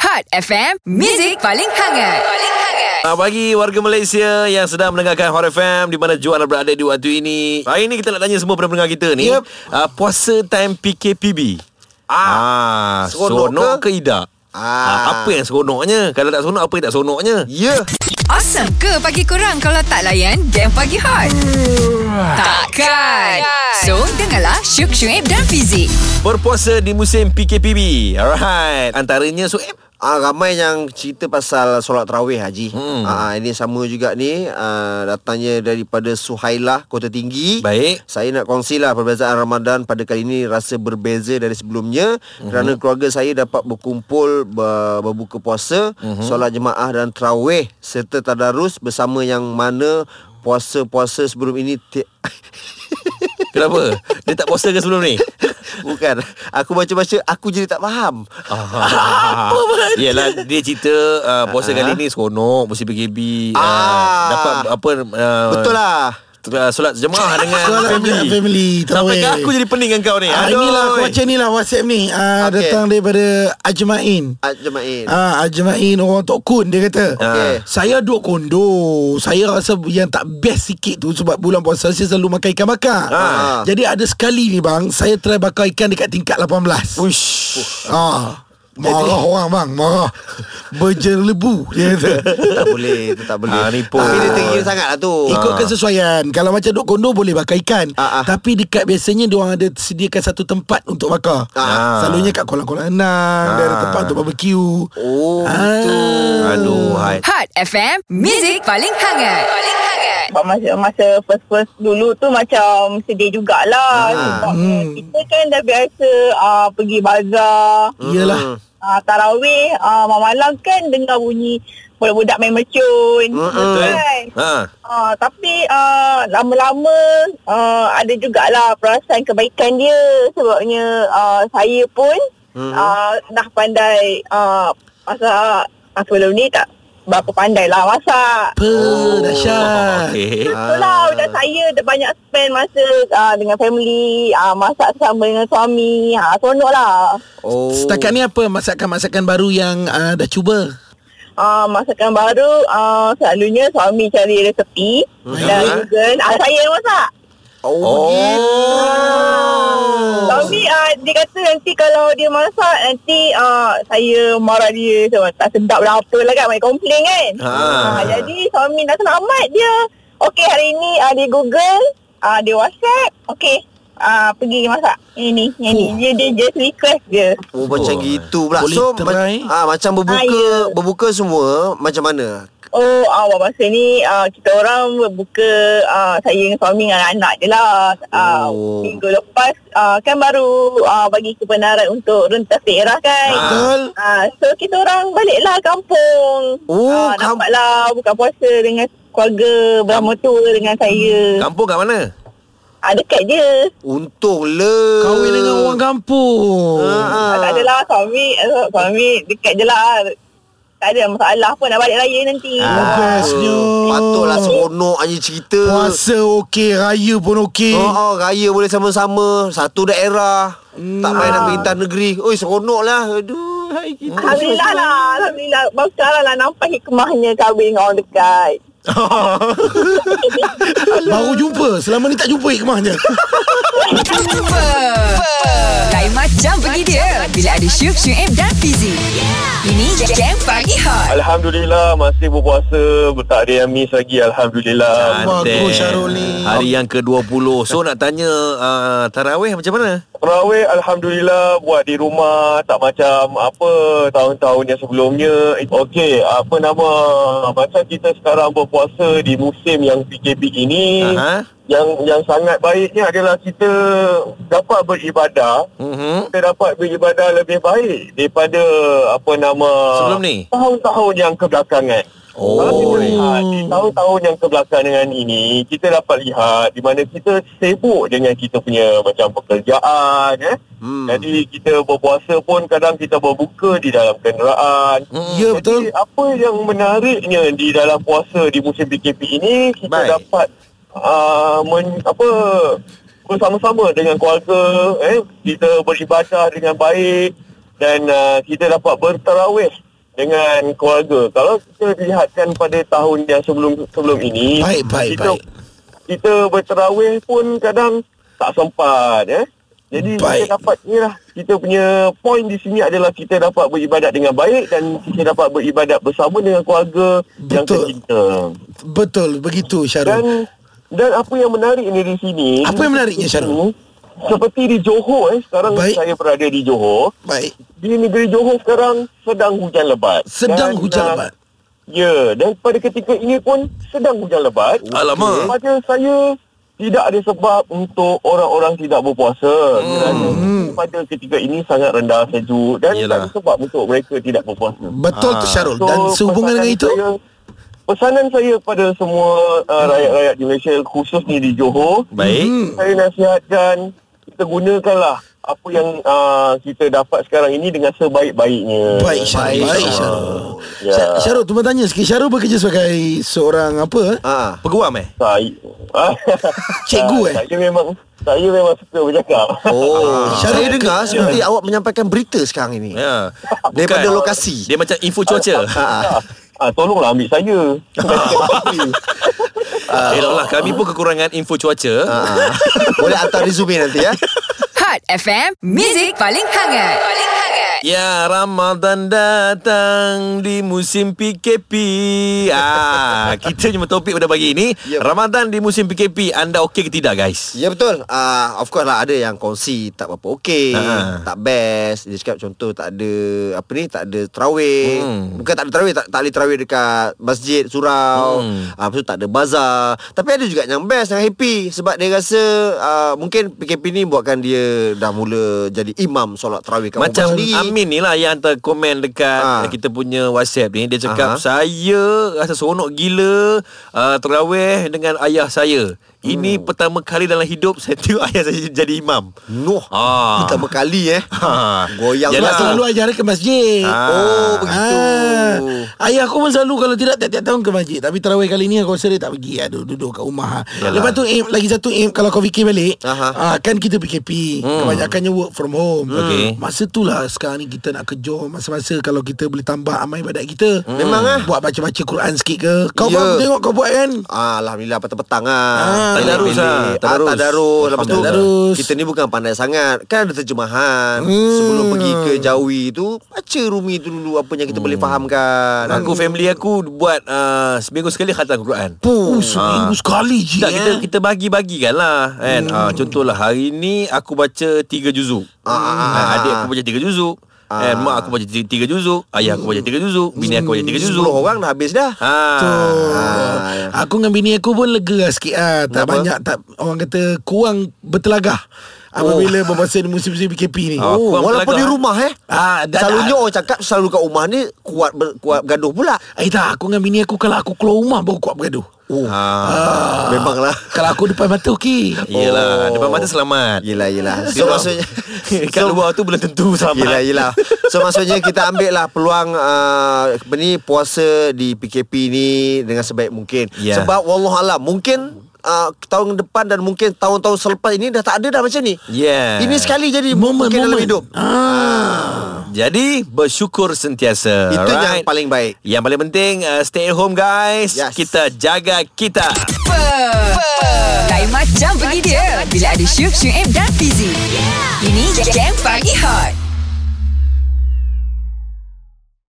Hot FM, Music paling hangat. Paling hangat. Selamat pagi warga Malaysia yang sedang mendengarkan Hot FM di mana Juan berada di waktu ini. Hari ini kita nak tanya semua pendengar kita ni. Yep. Uh, puasa time PKPB. Ah, ah seronok seronok ke, ke tidak? Ah. Ah. apa yang seronoknya? Kalau tak seronok apa yang tak seronoknya? Ya. Awesome ke pagi kurang kalau tak layan game pagi hot? Takkan. So, dengarlah Syuk Syuib dan Fizik. Berpuasa di musim PKPB. Alright. Antaranya Sueb. Ah ramai yang cerita pasal solat tarawih Haji. Hmm. Ah ini sama juga ni ah, datangnya daripada Suhailah Kota Tinggi. Baik. Saya nak kongsilah perbezaan Ramadan pada kali ini rasa berbeza dari sebelumnya mm-hmm. kerana keluarga saya dapat berkumpul ber, berbuka puasa, mm-hmm. solat jemaah dan tarawih serta tadarus bersama yang mana puasa-puasa sebelum ini ti- Kenapa? Dia tak puasa ke sebelum ni? bukan. Aku baca-baca aku jadi tak faham. Ah. Apa Yelah dia cerita uh, puasa kali ni seronok musim PKB uh, Ah. dapat apa uh, Betul lah. uh, solat jemaah dengan Solat family. dengan family, Sampai terawih. aku jadi pening dengan kau ni. Ah, Aduh. inilah aku baca ni lah WhatsApp ni. Ah, Okey. okay. Datang daripada Ajmain. Ajmain. Ah, Ajmain orang Tok Kun dia kata. Ah. Okey. Saya duk kondo. Saya rasa yang tak best sikit tu sebab bulan puasa saya selalu makan ikan bakar. Ah. Jadi ada sekali ni bang, saya try bakar ikan dekat tingkat 18. Uish. Ah. Marah orang bang, marah. Berjelebu dia kata. tak boleh Itu tak boleh Ah, ni pun. Tapi dia tinggi sangat lah tu Ikut kesesuaian Kalau macam duk kondo Boleh bakar ikan Ah, ah. Tapi dekat biasanya Diorang ada sediakan satu tempat Untuk bakar Ah. Selalunya kat kolam-kolam renang Dia ada tempat untuk barbecue Ah. Oh gitu Aduh, hai. Hot FM, Music paling hangat. Paling hangat. Sebab masa, masa first-first dulu tu macam sedih jugalah. Sebabnya kita kan dah biasa uh, pergi bazar, Hmm. Iyalah uh, tarawih, uh, malam kan dengar bunyi budak-budak main mercun. Betul. Kan? Ha. Uh, tapi uh, lama-lama uh, ada jugalah perasaan kebaikan dia sebabnya uh, saya pun uh, dah pandai uh, masak. Uh, sebelum ni tak berapa pandai lah masak. Apa Dahsyat Oh, Okey. Betul lah Dah saya dah banyak spend masa uh, Dengan family uh, Masak sama dengan suami ha, Seronok lah Oh Setakat ni apa Masakan-masakan baru Yang uh, dah cuba uh, Masakan baru uh, Selalunya suami cari resepi Dan Google uh, Saya yang masak Oh, Oh. Suami uh, dia kata nanti kalau dia masak Nanti uh, saya marah dia Sebab tak sedap lah apa lah kan Banyak komplain kan Ah. Ah, Jadi suami nak senang amat dia Okey hari ni uh, dia google uh, Dia whatsapp Okey uh, pergi masak Ini ni, yang ni Dia, dia just request je Oh, macam Oh. gitu pula Boleh So try. ma- ah, Macam berbuka Ah, ya. Berbuka semua Macam mana Oh awal masa ni uh, Kita orang berbuka uh, Saya dengan suami dengan anak je lah uh, Oh. Minggu lepas uh, Kan baru uh, Bagi kebenaran untuk rentas daerah kan Betul Ah, so kita orang baliklah kampung. Oh, Ah, kamp- nampaklah buka puasa dengan keluarga bersama tua dengan saya. Kampung kat mana? Ah, dekat je. Untung le Kahwin dengan orang kampung Ah, tak adalah suami, eh, suami dekat je lah. Tak ada masalah pun nak balik raya nanti. Ah. Bestnya. Patutlah seronok Hanya cerita Puasa okey Raya pun okey Oh, oh, raya boleh sama-sama Satu daerah Tak payah Ah. nak pergi tanah negeri Oi, seronok lah Aduh, hai kita Alhamdulillah lah Alhamdulillah Bagus lah nampak hikmahnya kahwin dengan orang dekat Baru jumpa Selama ni tak jumpa hikmahnya Jumpa. Lain macam pergi dia bila ada Syuk Syuib dan Fizik. Ini game pagi hot. Alhamdulillah masih berpuasa Tak ada yang miss lagi Alhamdulillah Bagus, Syarul ni. Hari yang ke-20 So nak tanya uh, Tarawih macam mana? Terawih Alhamdulillah Buat di rumah Tak macam apa Tahun-tahun yang sebelumnya Okey Apa nama Macam kita sekarang berpuasa Di musim yang PKP ini Hmm. Aha. Yang yang sangat baiknya adalah kita dapat beribadah Mhm. Kita dapat beribadah lebih baik Daripada apa nama Sebelum ni? Tahun-tahun yang kebelakangan Kalau kita Oh lihat di tahun-tahun yang kebelakangan ini kita dapat lihat di mana kita sibuk dengan kita punya macam pekerjaan eh. Hmm. Jadi kita berpuasa pun kadang kita berbuka di dalam kenderaan. Hmm. Ya betul Jadi apa yang menariknya di dalam puasa di musim PKP ini kita Baik. Baik. dapat uh, men, apa bersama-sama dengan keluarga eh kita beribadah dengan baik dan uh, kita dapat bertarawih dengan keluarga. Kalau kita lihatkan pada tahun yang sebelum sebelum ini, Baik, baik, kita baik. kita berterawih pun kadang tak sempat eh. Jadi Baik. kita dapat ni lah kita punya point di sini adalah kita dapat beribadat dengan baik dan kita dapat beribadat bersama dengan keluarga Betul. yang Betul. tercinta. Betul begitu Syarul. Dan dan apa yang menarik ni di sini? Apa yang menariknya, Syarul? Seperti di Johor eh sekarang Baik. saya berada di Johor. Baik. Di negeri Johor sekarang sedang hujan lebat. Sedang Dan, hujan ah, lebat. Ya, dan pada ketika ini pun sedang hujan lebat. Alamak. Pada saya tidak ada sebab untuk orang-orang tidak berpuasa hmm. kerana suhu pada ketika ini sangat rendah sejuk dan Yelah. tak ada sebab untuk mereka tidak berpuasa. Betul tu Syarul. Dan sehubungan dengan pesanan itu saya, pesanan saya pada semua uh, rakyat-rakyat di Malaysia khususnya di Johor Baik. hmm. saya nasihatkan kita gunakanlah apa yang uh, kita dapat sekarang ini dengan sebaik-baiknya Baik Syarul. Baik, Baik Syarul. Syarul. Ya. Syar- Syarul tu tanya sikit Syarul bekerja sebagai seorang apa? eh? Ah, Peguam eh? saya Cikgu, eh? saya memang saya memang suka bercakap Oh, Ah. saya Saya dengar seperti awak menyampaikan berita sekarang ini. Ya. Daripada Bukan. lokasi. Dia macam info cuaca. Ah, ah. Ah, tolonglah ambil saya. Eh, lah, kami pun kekurangan info cuaca. Ah. Boleh hantar resume nanti ya. Hot FM, Music paling hangat. Paling hangat. Ya, Ramadan datang di musim PKP. Ah, kita cuma topik pada pagi ini. Yep. Ramadan di musim PKP, anda okey ke tidak guys? Ya betul. Ah uh, of course lah ada yang kongsi tak apa okey, Ah. tak best. Dia cakap contoh tak ada apa ni, tak ada tarawih. Hmm. Bukan tak ada tarawih, tak tak ada tarawih dekat masjid surau. Hmm. Ah lepas tu tak ada bazar. Tapi ada juga yang best, yang happy sebab dia rasa uh, mungkin PKP ni buatkan dia dah mula jadi imam solat tarawih kat Macam rumah sendiri. Amin ni lah yang hantar komen dekat Ah. ha. kita punya WhatsApp ni. Dia cakap, Aha. saya rasa seronok gila uh, terawih dengan ayah saya. Ini Hmm. pertama kali dalam hidup saya tengok ayah saya jadi imam. Noh. Ah. Pertama kali eh. Ha. Goyang lah. Sebab Yalah. selalu ajar dia ke masjid. Ah. Oh begitu. Ah, ayah aku pun selalu kalau tidak tiap-tiap tahun ke masjid. Tapi tarawih kali ni aku rasa dia tak pergi. Aduh, duduk kat rumah. Yalah. Yalah. Lepas tu aim, lagi satu aim kalau kau fikir balik, Aha. ah, kan kita PKP. Hmm. Kebanyakannya work from home. Okey. Masa tu lah sekarang ni kita nak kerja. Masa-masa kalau kita boleh tambah amal ibadat kita. Hmm. Memang ah. Buat baca-baca Quran sikit ke. Kau Ya. yeah. baru tengok kau buat kan? Ah, Alhamdulillah petang-petang ah. Ah. Tadarus ah, ah. tadarus. Tadarus. tadarus. Lepas tu Tadarus. kita ni bukan pandai sangat. Kan ada terjemahan. Sebelum pergi ke Jawi tu baca rumi tu dulu apa yang kita boleh fahamkan. Hmm. Aku family aku buat uh, seminggu sekali khatam Quran. Oh, seminggu sekali je. Tak eh. Ya. kita kita bagi-bagikan lah kan. Hmm. Ah, contohlah hari ni aku baca tiga juzuk. Ah, ah, ah, Ah, ah. adik aku baca tiga juzuk. Ah. Ah. mak aku baca tiga, tiga juzuk, ayah aku baca tiga juzuk, bini aku baca tiga juzuk. 10 orang dah habis dah. Ah. Betul. Ah. Aku dengan bini aku pun lega lah sikit lah. Tak Kenapa? banyak tak orang kata kurang bertelagah apabila berpuasa di musim-musim PKP ni. Ah, Oh, kurang walaupun belagak, eh. di rumah eh. Ah, Selalunya dah, Selalunya orang cakap selalu kat rumah ni kuat ber, kuat gaduh pula. Eh tak, aku dengan bini aku kalau aku keluar rumah baru kuat bergaduh. Oh. Ah. Memanglah. Kalau aku depan mata okey. Yelah, depan mata selamat. Oh. Yelah yelah. Di So luar- maksudnya kat luar tu belum tentu selamat. Yelah yelah So maksudnya kita ambil lah Peluang uh, apa ni Puasa di PKP ni Dengan sebaik mungkin Ya. yeah. Sebab Wallahualam Mungkin uh, Tahun depan dan mungkin Tahun-tahun selepas ini Dah tak ada dah macam ni Yeah. Ini sekali jadi Moment, Mungkin dalam moment. hidup Ah. Jadi bersyukur sentiasa. Itu alright? yang paling baik Yang paling penting uh, stay at home guys. Yes. Kita jaga kita. Apa? Lain macam pergi dia bila ada Syuk, Syuib dan Fizi. Ini Game Pagi Hot.